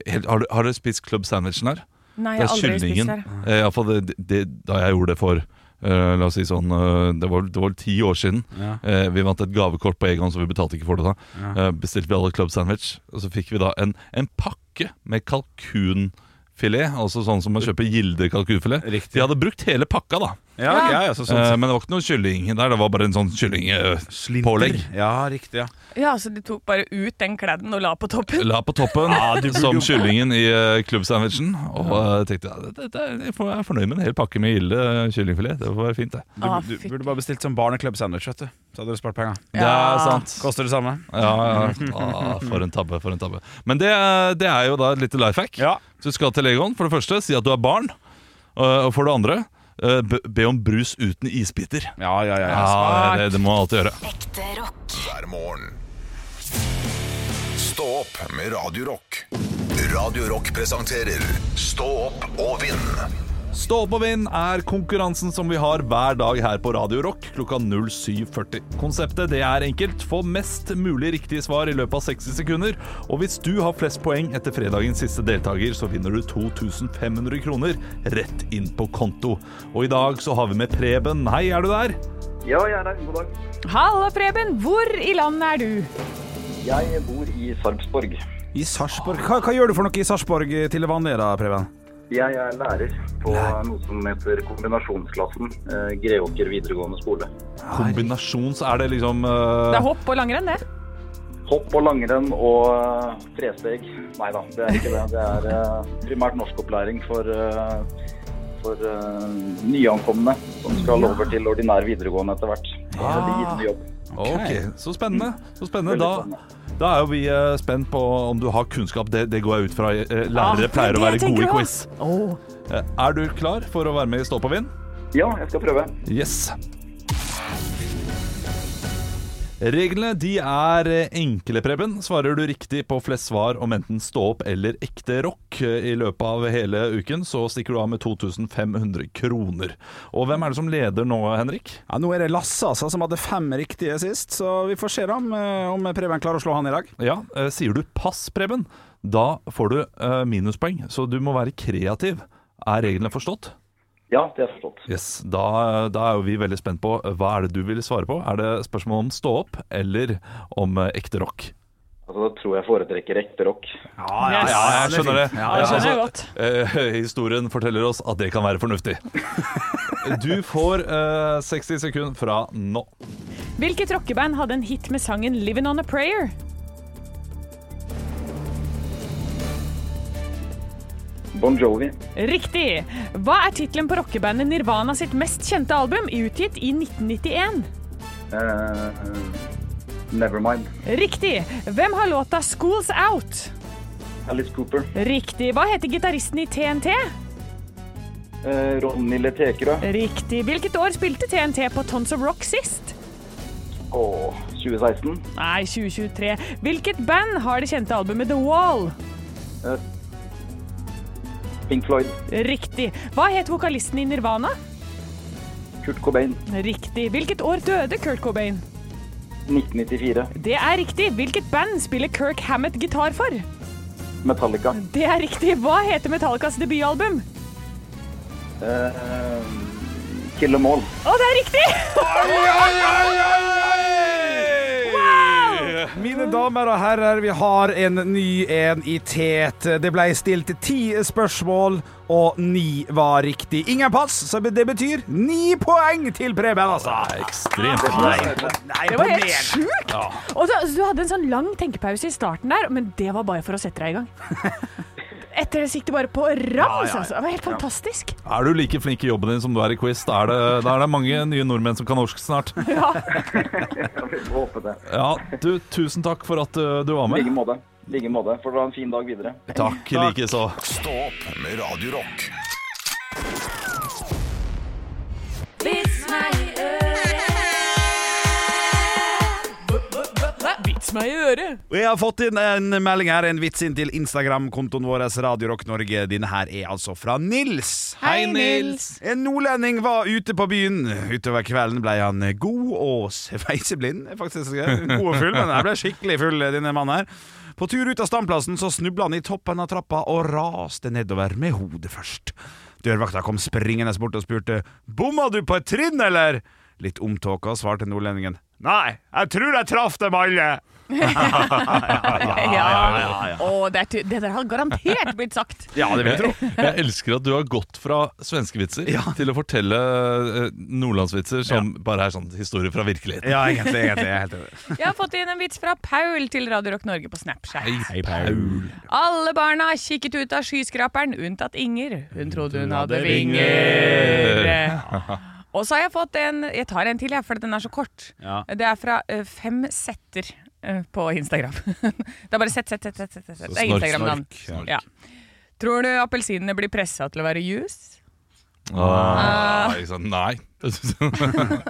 helt, har, du, har dere spist club sandwichen her?
Nei, jeg har aldri spist det. her.
Eh, i hvert fall det, det, da jeg gjorde det for øh, La oss si sånn øh, Det var det var ti år siden
Ja.
Eh, Vi vant et gavekort på Egon Så vi betalte ikke for det da Eh, Bestilte vi alle club sandwich Og så fikk vi da en, en pakke med kalkunfilet Altså sånn som man kjøper gilde kalkunfilet
Riktig.
De hadde brukt hele pakka da
Ja, ok, ja, ja, så, sånn
Eh,
sett.
men det var ikke noe kylling der, det var bare en sånn
eh,
kyllingpålegg.
Ja, riktig, ja.
Ja, så de tok bare ut den kledden og la på toppen?
La på toppen, som kyllingen i eh, klubbsandwichen. Og eh, tenkte ja, det, det, jeg får- jeg er fornøyd med en hel pakke med gilde kyllingfilet. Det får være fint, det.
Du,
Ah,
du
fytti.
burde bare bestilt sånn barneklubb-sandwich, vet du. Så hadde du spart penger.
Det
Ja.
er sant.
Koster det samme?
Ja, ja. Ah, for en tabbe, for en tabbe. Men det, det er jo da et lite life hack.
Ja.
Så du skal til Legon. For det første, si at du er barn. Og og for det andre, eh, be be om brus uten isbiter.
Ja, ja, ja. ja.
Ja, det, det må man alltid gjøre.
Ekte rock.
hver morgen. Stå opp med Radio Rock. Radio Rock presenterer Stå opp og vinn.
Stå opp og vinn er konkurransen som vi har hver dag her på Radio Rock klokka 07.40. Konseptet det er enkelt. Få mest mulig riktige svar i løpet av 60 sekunder. Og hvis du har flest poeng etter fredagens siste deltaker, så vinner du 2500 kroner rett inn på konto. Og i dag så har vi med Preben. Hei, er du der?
Ja, jeg er her. God dag.
Halla, Preben! Hvor i landet er du?
Jeg bor i Sarpsborg.
I Sarpsborg. Hva, hva gjør du for noe i Sarpsborg eh, til vanlig, da, Preben?
Jeg er lærer på noe som heter kombinasjonsklassen eh, Greåker videregående skole.
Kombinasjons... Er det liksom
Det
eh,
er hopp og langrenn, det.
Hopp og langrenn og eh, tresteg. Nei da, det er ikke det. Det er eh, primært norskopplæring for, eh, for eh, nyankomne som skal over til ordinær videregående etter hvert. Da er det givende jobb.
Ok, så spennende. Så spennende.
Veldig
Da, da er jo vi eh, spent på om du har kunnskap. Det, det går jeg ut fra. eh, Lærere
Ah, det er
pleier
det
å være
jeg tenker
gode i
også.
quiz. Eh, Er du klar for å være med i Stå på vind?
Ja, jeg skal prøve.
Yes. Reglene de er eh, enkle, Preben. Svarer du riktig på flest svar om enten stå opp eller ekte rock eh, i løpet av hele uken, så stikker du av med 2500 kroner. Og hvem er det som leder nå, Henrik?
Ja, Nå er det Lasse altså, som hadde fem riktige sist, så vi får se da om, eh, om Preben klarer å slå han i dag.
Ja, eh, sier du pass, Preben, da får du eh, minuspoeng, så du må være kreativ. Er reglene forstått?
Ja, det er forstått.
Yes, da, da er jo vi veldig spent på eh, hva er det du vil svare på. Er det spørsmål om stå opp eller om eh, ekte rock?
Altså, da tror jeg foretrekker ekte rock.
Yes.
Ja, jeg skjønner det.
det
Ja,
skjønner jeg
altså,
godt.
eh, *laughs* historien forteller oss at det kan være fornuftig. *laughs* Du får eh, 60 sekunder fra nå.
Hvilket rockeband hadde en hit med sangen 'Living On A Prayer'?
Bon Jovi.
Riktig! Hva er tittelen på rockebandet Nirvana sitt mest kjente album, utgitt i 1991?
Eh, Nevermind.
Riktig! Hvem har låta 'Schools Out'?
Alice Cooper.
Riktig. Hva heter gitaristen i TNT?
Eh, Ronny Letekerø.
Riktig. Hvilket år spilte TNT på Tons of Rock sist?
Åh, 2016.
Nei, 2023. Hvilket band har det kjente albumet The Wall?
Pink Floyd.
Riktig. Hva het vokalisten i Nirvana?
Kurt Cobain.
Riktig. Hvilket år døde Kurt Cobain?
1994.
Det er riktig. Hvilket band spiller Kirk Hammett gitar for?
Metallica.
Det er riktig. Hva heter Metallicas debutalbum?
Eh, Kill 'em all.
Å, det er riktig! *laughs*
Mine damer og herrer, vi har en ny en i tet. Det ble stilt ti spørsmål, og ni var riktig. Ingen pass, så det betyr ni poeng til Preben, altså.
Ekstremt.
Nei,
Det var helt sjukt! Og så, så du hadde en sånn lang tenkepause i starten der, men det var bare for å sette deg i gang. *laughs* Etter det gikk det bare på rams, altså. Det var helt fantastisk.
Er du like flink i jobben din som du er i quiz, da er det, da er det mange nye nordmenn som kan norsk snart. *laughs*
Jeg vil håpe det.
Ja, du, tusen takk for at eh, du var
I like
med.
måte. I like måte. Får dere ha en fin dag videre.
Takk likeså.
Stå opp med Radio Rock.
Vits meg i øret.
Vits meg i øret.
Og Jeg har fått inn en melding her, en vits inn til Instagram-kontoen vår, Radio Rock Norge. Denne her er altså fra Nils.
Hei, Nils.
En nordlending var ute på byen. Utover kvelden ble han god og sveiseblind. Faktisk god og full, men han ble skikkelig full, denne mannen her. På tur ut av standplassen så snubla han i toppen av trappa og raste nedover med hodet først. Dørvakta kom springende bort og spurte 'Bomma du på et trinn, eller?' Litt omtåka svarte nordlendingen. Nei, jeg tror jeg traff dem alle! *laughs*
Å, det, er ty- det der har garantert blitt sagt.
Ja, det vil jeg tro.
Jeg elsker at du har gått fra svenske vitser til å fortelle eh, nordlandsvitser som bare er sånn historie fra virkeligheten.
Ja, egentlig. egentlig jeg er helt enig.
*laughs* Jeg har fått inn en vits fra Paul til Radio Rock Norge på Snapchat.
Hei, Paul.
Alle barna kikket ut av skyskraperen, unntatt Inger. Hun trodde hun hadde vinger. *laughs* Og så har jeg fått en Jeg tar en til, jeg, for den er så kort.
Ja.
Det er fra ø, fem setter ø, på Instagram. *laughs* det er bare sett, sett, sett. sett, sett, sett. Det er
Snork,
Instagram-navn.
snork, snork.
Ja. Tror du appelsinene blir pressa til å være juice?
Ah, ikke sant? Nei. *laughs*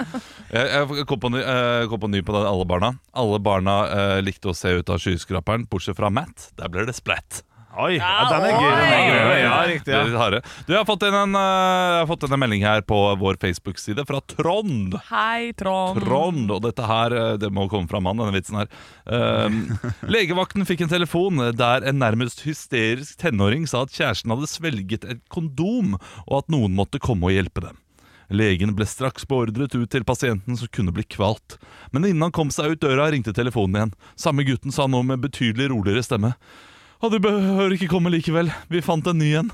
jeg, jeg kom på, ny, eh, kom på ny på det, alle barna. Alle barna eh, likte å se ut av skyskraperen, bortsett fra Matt. Der ble det splatt.
Oi, ja, den
Ah,
er gøy. Den er gøy. Ja, riktig.
Det
Ja.
er litt harde. Du, jeg har fått inn en, eh, jeg har fått inn en melding her på vår Facebook-side fra Trond.
Hei, Trond.
Trond, og dette her, eh, det må komme fra mannen, denne vitsen her. Ehm, legevakten fikk en telefon der en nærmest hysterisk tenåring sa at kjæresten hadde svelget et kondom, og at noen måtte komme og hjelpe dem. Legen ble straks beordret ut til pasienten som kunne bli kvalt. Men innen han kom seg ut døra, ringte telefonen igjen. Samme gutten sa nå med betydelig roligere stemme. Å, du behøver ikke komme likevel. Vi fant en ny en.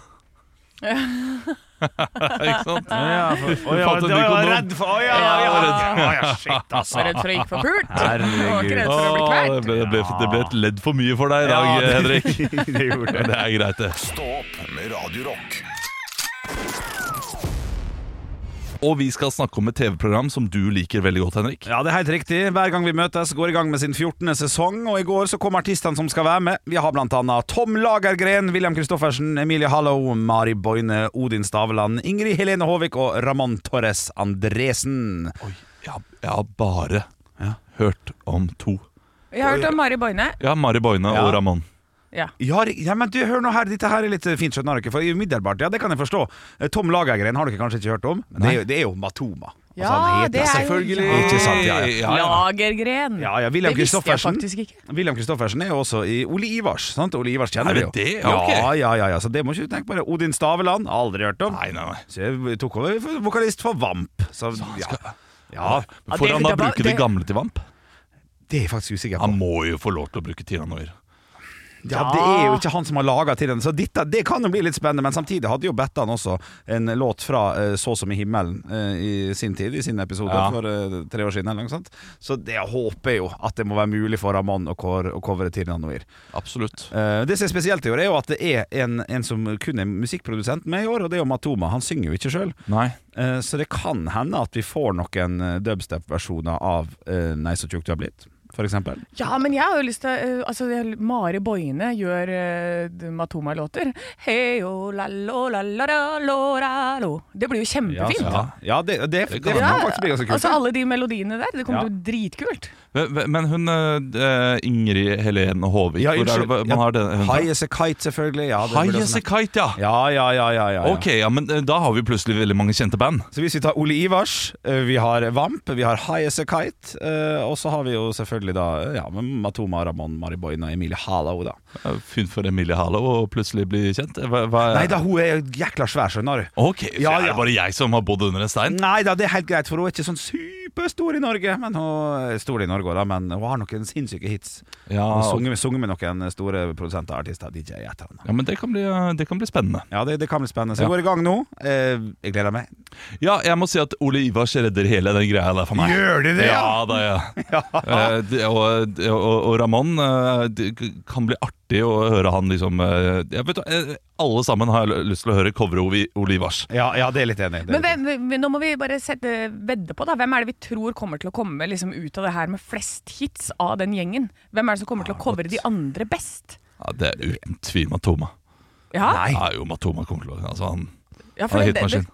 *laughs* ikke sant?
Ja, for, å, ja,
fant en
det var
ny
jeg
kondom.
redd for Å, ja, ja, ja, ja, shit,
Var
altså.
redd for å gikk for pult.
Herregud.
Og ikke redd for å bli
Åh,
kvalt.
det, ble, det, ble, det ble et ledd for mye for deg i dag,
Ja, det-
Henrik.
det gjorde
Men det er greit, det.
Stå opp med Radio Rock.
Og vi skal snakke om et TV-program som du liker veldig godt, Henrik.
Ja, det er helt riktig. Hver gang vi møtes, går i gang med sin 14. sesong. Og i går så kom artistene som skal være med. Vi har blant annet Tom Lagergren, William Kristoffersen, Emilie Hallo, Mari Boine, Odin Stavland, Ingrid Helene Håvik og Ramón Torres Andresen.
Oi, jeg, har- jeg har bare hørt om to.
Jeg har hørt om Mari Boine.
Ja, Mari Boine
Ja.
og Ramón.
Ja.
Ja, ri- ja, men du, hør nå her, dette her er litt fint, skjønner dere. For umiddelbart, ja, det kan jeg forstå. Eh, Tom Lagergren har dere kanskje ikke hørt om. Men det er jo, det er jo Matoma. Altså,
Ja,
han heter
det er jo-
selvfølgelig. Ikke sant, ja, ja.
Lagergren.
Ja, ja, William
det visste jeg
Kristoffersen.
faktisk ikke.
William Kristoffersen er jo også i Ole Ivars. sant? Ole Ivars kjenner
Er
vi
det
jo.
det?
Ja,
Ja, ok.
ja, ja, ja, så det må ikke du tenke på. det Odin Staveland, aldri hørt om.
Nei, nei, nei.
Så jeg tok over for vokalist for Vamp. Så, ja. ja,
Men Får
det-
han da
det var-
bruke de
det-
gamle til Vamp?
det er jeg faktisk usikker på.
Han må jo få lov til å bruke tiranoer.
Ja, Det er jo ikke han som har laga til den, så dette, det kan jo bli litt spennende. Men samtidig hadde jo Bettan også en låt fra eh, 'Så som i himmelen' eh, i sin tid, i sin episode
Ja.
for eh, tre år siden. eller noe sånt. Så det jeg håper jo at det må være mulig for Ramón å kor- å covre Tirnanoir.
Absolutt.
Eh, Det som er spesielt i år, er jo at det er en, en som kun er musikkprodusent med i år, og det er jo Matoma. Han synger jo ikke sjøl.
Nei.
Så det kan hende at vi får noen eh, dubstep-versjoner av eh, 'Nei, så tjukk du har blitt', for eksempel.
Mm,
Ja, men jeg har jo lyst til eh, Altså, jeg- Mari Boine gjør eh, Matoma-låter. Heyo, la, lo, la, la, la, lo, la, lo. Det blir jo kjempefint.
Ja, ja det, det, det,
kan
kan faktisk bli ganske kult.
Altså, alle de melodiene der. Det kommer
Ja.
til å bli dritkult.
Men- Men hun eh, Ingrid Helene Håvik,
Ja,
hvor er det
unnskyld.
man har den? hun-
High as a kite, selvfølgelig. Ja, det burde
High
jeg
as Eh, a
snakke-
kite, ja.
Ja, ja, ja, ja, ja, ja.
Ok, ja, men eh, da har vi plutselig veldig mange kjente band.
Så hvis vi tar Ole Ivars, eh, vi har Vamp, vi har High as a kite, eh, og så har vi jo selvfølgelig da eh, ja, men Matoma, Ramón, Mari Boine og Emilie Halau, da.
Eh, Fint for Emilie Harlow å plutselig bli kjent. Hva, hva,
Nei da, hun er jækla svær, skjønner du.
Ok, så
Ja,
er
ja. Mm.
det bare jeg som har bodd under en stein?
Nei da, det er helt greit, for hun er ikke sånn superstor i Norge. Men hun er stor i Norge, også, da, men hun har noen sinnssyke hits.
Ja,
Hun Sunget med, sunget med noen store produsenter, artister, DJ, et eller annet.
ja men det kan, bli, det kan bli spennende.
Ja, det, det kan bli spennende. Så
Ja.
vi går i gang nå. Eh, jeg gleder meg.
Ja, jeg må si at Ole Ivars redder hele den greia der for meg.
Gjør de det,
Ja,
*laughs* ja?
da, ja. Eh, det- og, og, og Ramón eh, det kan bli artig å høre han liksom eh, jeg vet, eh, Alle sammen har jeg lyst til å høre coveret Ovi- Ole Ivars.
Ja, ja det er litt enig. det er
Men
litt
hvem, hvem- nå må vi bare sette, vedde på, da. Hvem er det vi tror kommer til å komme liksom, ut av det her med flest hits av den gjengen? Hvem er det som kommer til
Ah,
å covre de andre best?
Ja, det er uten tvil Matoma.
Ja,
Nei.
Ja, jo, Matoma kommer til å altså, han,
ja
han er
det- det-
hitmaskin.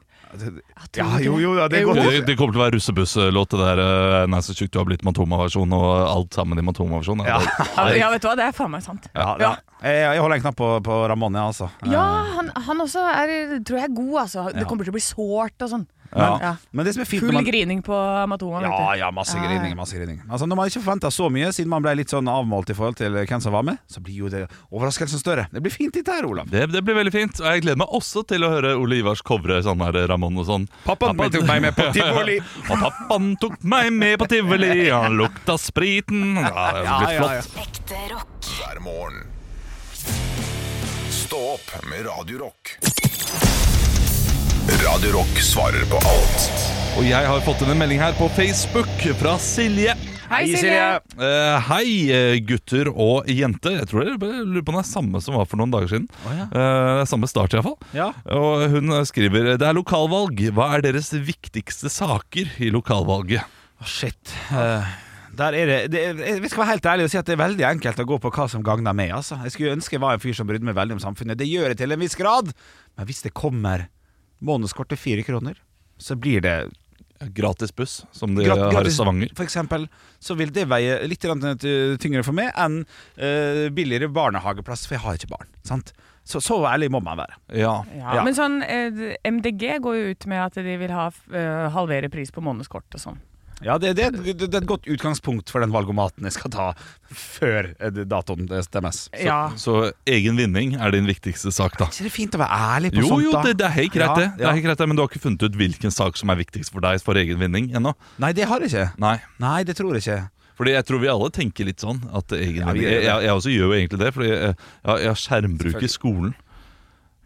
Ja, jo, jo, ja, det er
Jo.
*laughs*
godt.
Det, det kommer til å være russebusslåt, det der. eh, Nei, så tjukk du har blitt Matoma-versjon, og alt sammen i Matoma-versjon. Ja,
Ja,
det-
ja, vet du hva, det er faen meg sant.
*laughs* Ja, ja. Jeg, jeg holder en knapp på, på Ramón, jeg, altså.
Ja, han, han også er, tror jeg er god, altså. Det kommer til å bli sårt og sånn.
Men,
Ja.
men det som er fint når
Full
man-
grining på Matoma. vet
Ja,
du.
ja, masse
Ja, ja.
grining. masse grining Altså Når man ikke forventa så mye, siden man ble litt sånn avmålt i forhold til hvem som var med, så blir jo det overraskelsen større. Det blir fint, dette her, Olav.
Det, det blir veldig fint. Og jeg gleder meg også til å høre Ole Ivars covre sånn her Ramón og sånn.
Pappaen min tok meg med *laughs* på tivoli.
Og pappaen tok meg med på *laughs* tivoli, han lukta spriten. Ja, det blir flott.
Ekte rock.
hver morgen. Stå opp med Radio Rock. Radio Rock svarer på alt.
Og jeg har fått inn en melding her på Facebook fra Silje.
Hei, Silje!
Eh, hei, eh, gutter og jenter. Jeg tror det jeg lurer på om det er samme som var for noen dager siden. Eh, det er samme start, iallfall.
Ja.
Og hun skriver Det er lokalvalg. Hva er deres viktigste saker i lokalvalget?
Å, shit. Eh, der er det, det er- Jeg skal være helt ærlig og si at det er veldig enkelt å gå på hva som gagner meg. Altså. Jeg skulle ønske jeg var en fyr som brydde meg veldig om samfunnet. Det gjør jeg til en viss grad. Men hvis det kommer månedskort til fire kroner, så blir det
Gratis buss, som de
Grat-
har i
gratis-
Stavanger.
For eksempel, så vil det veie litt grann, eh, tyngre for meg enn eh, billigere barnehageplass, for jeg har ikke barn. Sant? Så, så ærlig må man være.
Ja.
Ja,
Ja.
Men sånn, eh, MDG går jo ut med at de vil ha eh, halvere pris på månedskort og sånn.
Ja, det, det, er et- det er et godt utgangspunkt for den valgomaten jeg skal ta før eh, datoen stemmes. Så,
Ja.
Så egen vinning er din viktigste sak, da.
så det er fint å være ærlig på
Jo,
sånt,
jo,
da.
det, det er helt greit,
Ja,
det. det,
ja.
er helt greit det. Men du har ikke funnet ut hvilken sak som er viktigst for deg for egen vinning ennå?
Nei, det har jeg ikke.
Nei.
Nei, det tror jeg ikke.
Fordi jeg tror vi alle tenker litt sånn at egen,
Ja, vi gjør
jeg,
det.
jeg, jeg også gjør jo egentlig det, fordi jeg, jeg, jeg har skjermbruk i skolen.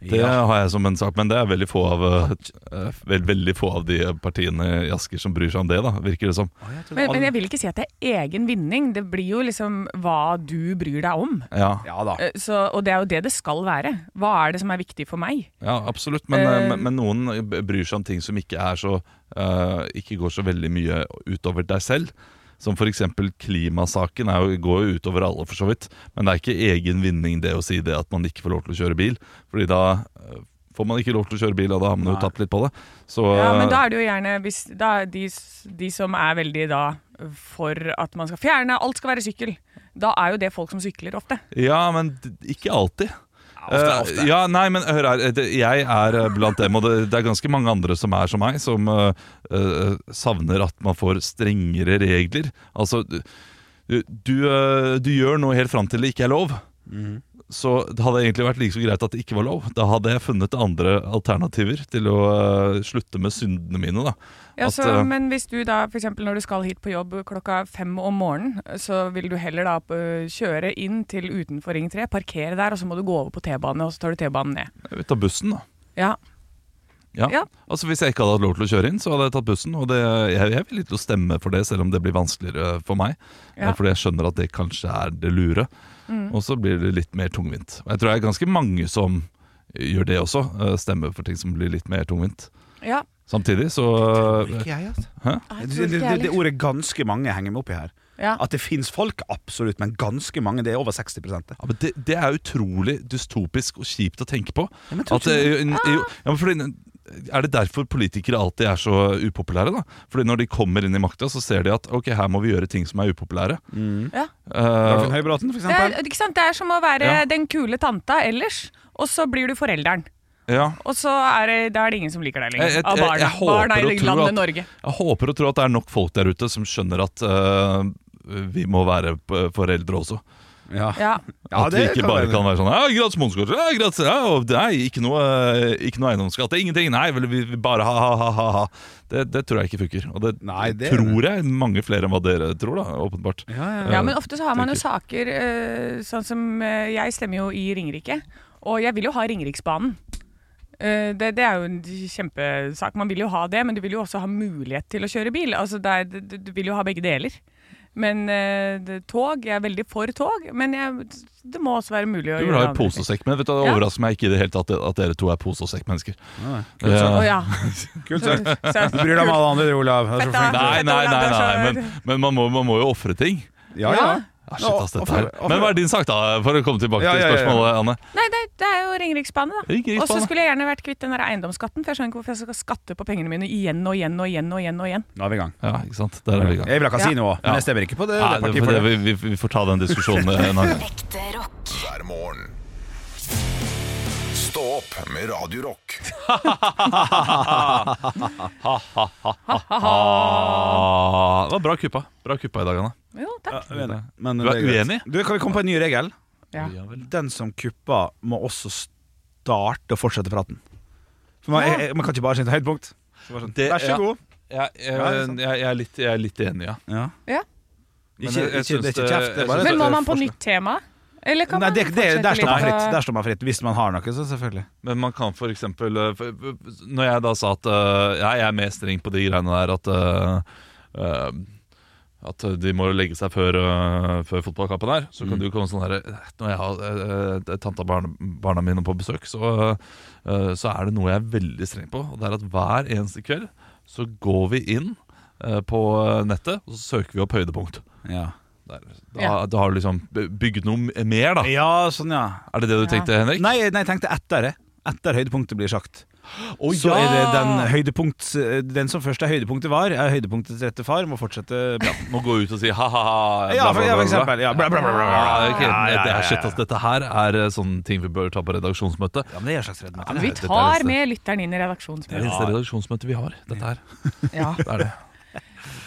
Det
Ja.
har jeg som en sak, men det er veldig få av eh, eh, vel- veldig få av de partiene i Asker som bryr seg om det, da, virker det som.
Men, men jeg vil ikke si at det er egen vinning. Det blir jo liksom hva du bryr deg om.
Ja, ja,
Ja da.
Eh, Så, og det er jo det det skal være. Hva er det som er viktig for meg?
absolutt. Men, eh,
Eh,
men- men noen bryr seg om ting som ikke er så eh, Ikke går så veldig mye utover deg selv. Som f.eks. klimasaken er jo, går jo utover alle, for så vidt. Men det er ikke egen vinning det å si det at man ikke får lov til å kjøre bil. Fordi da eh, får man ikke lov til å kjøre bil, og da har man jo tapt litt på det. Så
Ja, men da
eh,
er det jo gjerne hvis, da, er de, s- de som er veldig da for at man skal fjerne alt skal være sykkel, da er jo det folk som sykler ofte.
ja, men d- ikke alltid.
ofte, ofte.
Eh, ja, nei, men hør her. eh, det- Jeg er eh, blant dem, og det, det er ganske mange andre som er som meg, som eh, eh, savner at man får strengere regler. Altså, du, du, eh, du gjør noe helt fram til det ikke er lov.
Mhm.
Så det hadde egentlig vært like så greit at det ikke var lov. Da hadde jeg funnet andre alternativer til å eh, slutte med syndene mine, da.
Ja,
At,
så,
eh,
men hvis du da f.eks. når du skal hit på jobb klokka fem om morgenen, så vil du heller da eh, kjøre inn til utenfor Ring 3, parkere der, og så må du gå over på T-bane, og så tar du T-banen ned.
jeg vil ta bussen, da.
Ja.
Ja.
Ja.
altså Hvis jeg ikke hadde hatt lov til å kjøre inn, så hadde jeg tatt bussen. Og det, jeg, jeg er villig til å stemme for det, selv om det blir vanskeligere for meg.
Ja.
Eh, Fordi jeg skjønner at det kanskje er det lure. Og så blir det litt mer tungvint. Og jeg tror det er ganske mange som gjør det også. eh, Stemmer for ting som blir litt mer tungvint.
ja.
Samtidig så eh,
Ikke jeg, altså.
Hæ?
Det, det, det, det ordet 'ganske mange' henger meg opp i her.
Ja.
At det fins folk, absolutt, men ganske mange. Det er over 60 det.
Ja, men det, det er utrolig dystopisk og kjipt å tenke på.
men tror
At, eh, jo, jo, ja, men fordi, er det derfor politikere alltid er så upopulære? da? Fordi når de kommer inn i makta, så ser de at ok, her må vi gjøre ting som er upopulære.
Ja.
Eh,
Dagfinn Høybråten, for
Det er,
eksempel.
ikke sant? det er som å være
Ja.
den kule tanta ellers, og så blir du forelderen.
ja.
Og så er det, da er det ingen som liker deg lenger.
Jeg- jeg-
Av barna,
jeg- jeg håper
barna i
og tror
landet
at-
Norge.
Jeg håper og tror at det er nok folk der ute som skjønner at eh, vi må være p- foreldre også.
Ja.
Ja.
Ja,
at vi
det
ikke
kan
bare
være.
kan være sånn ja, 'Gratis månedskort! Ja, gratis, ja, og nei, ikke noe, eh, ikke noe eiendomsskatt! det er Ingenting! Nei, vel, vi vi bare ha-ha-ha!' Det, det tror jeg ikke funker. Og det,
Nei, det-
tror jeg mange flere enn hva dere tror, da, åpenbart.
Ja,
ja, men ofte så har man jo saker eh, sånn som eh, Jeg stemmer jo i Ringerike, og jeg vil jo ha Ringeriksbanen. Eh, det, det er jo en kjempesak. Man vil jo ha det, men du vil jo også ha mulighet til å kjøre bil. Altså, det er, du- du, du vil jo ha begge deler. Men eh, det, tog Jeg er veldig for tog, men jeg, det må også være mulig å
Du vil ha
andre
i pose
ting.
og sekk, men vet du, det
Ja.
overrasker meg ikke i det hele tatt at dere to er pose og sekk-mennesker.
Å
Eh,
ja.
Kult
Så-
sagt.
så-
*laughs* Du bryr deg om alle andre, Olav. Det er så
Fett,
flink.
da.
Nei, nei, nei, nei,
Olav, du
men,
er så-
men man, må, man må jo ofre ting.
Ja, ja.
Ja, Ah, shit, ass,
Og- og
dette her.
for- og
Men
for-
hva er din sak, da? For å komme tilbake
Ja, ja, ja,
til
ja.
spørsmålet, Anne.
Nei, det, det er jo Ringeriksbane, da.
Ringeriksbane.
Og så skulle jeg gjerne vært kvitt den der eiendomsskatten, for jeg skjønner ikke hvorfor jeg skal skatte på pengene mine igjen og igjen og igjen og igjen. og igjen.
Nå er vi i gang.
Ja, ikke sant? Der er vi i gang.
Jeg vil ha kasino òg, men
Ja.
jeg stemmer ikke på det.
Ja,
det
det,
partiet for det.
vi, vi, vi eh,
*laughs*
får ta den diskusjonen en annen gang.
Ekte rock.
hver morgen. Stå Stå opp med Radio Rock.
Ah, det var bra kuppa. Bra kuppa i dag, Anne.
Jo, takk.
Uenig. Men
Du er
det greit.
uenig?
Du, kan vi komme på en ny regel?
Ja.
Den som kupper, må også starte og fortsette praten. For man, jeg, jeg, man kan ikke bare si et høydepunkt. Så bare sånn,
Det-
Vær så
ja.
god.
Jeg, jeg,
Ja, det er sant.
jeg, jeg, er, litt, jeg er litt enig, ja.
Ja.
Ja.
Men
Ikke,
jeg- jeg
ikke, det er
syns
ikke
det-
kjeft. Det
jeg
er bare
syns
Men
et
må man på
forslag.
nytt tema? Eller kan
Nei,
man
det, det, sånn-
fortsette
der, står man
litt
fritt.
på-
der står man fritt. Hvis man har noe, så selvfølgelig.
Men man kan for eksempel eh, for- for- Når jeg da sa at eh, ja, jeg er mer streng på de greiene der at eh, eh, at de må legge seg før, eh, før fotballkampen her. Så kan du komme sånn her eh, Når jeg har eh, tanta og barna, barna mine på besøk, så, eh, så er det noe jeg er veldig streng på. Og det er at hver eneste kveld så går vi inn eh, på nettet, og så søker vi opp høydepunkt.
Ja,
Der, da,
Ja.
da har du liksom bygd noe mer, da.
ja sånn, ja.
Er det det du
Ja.
tenkte, Henrik?
Nei, nei, jeg tenkte etter det. Etter høydepunktet blir sagt.
Å,
så
ja!
er det den, høydepunkt, eh, den som først er høydepunktet var, er høydepunktets rette far, må fortsette praten.
må gå ut og si ha-ha.
Ja, for, ja, for eksempel. Ja, bla, bla, bla, bla, bla.
ok, Det er shit, ass.
altså.
Dette her er eh, sånne ting vi bør ta på redaksjonsmøte.
Ja, men det er en slags reddmøte.
Vi
Dette er
tar
neste.
med lytteren inn i
Det er det eneste
redaksjonsmøtet.
redaksjonsmøtet vi har. Dette her,
Ja.
*laughs* det er det.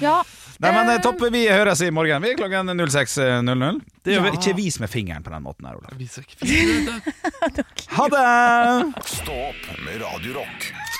ja.
Nei, men eh,
Eh,
Topp, vi høres i morgen. Vi er klokken 06.00. Det gjør
Ja.
vi. Ikke vis med fingeren på den måten her, Olav.
Jeg viser ikke fingeren.
Ha det!
Stå opp med Radio Rock.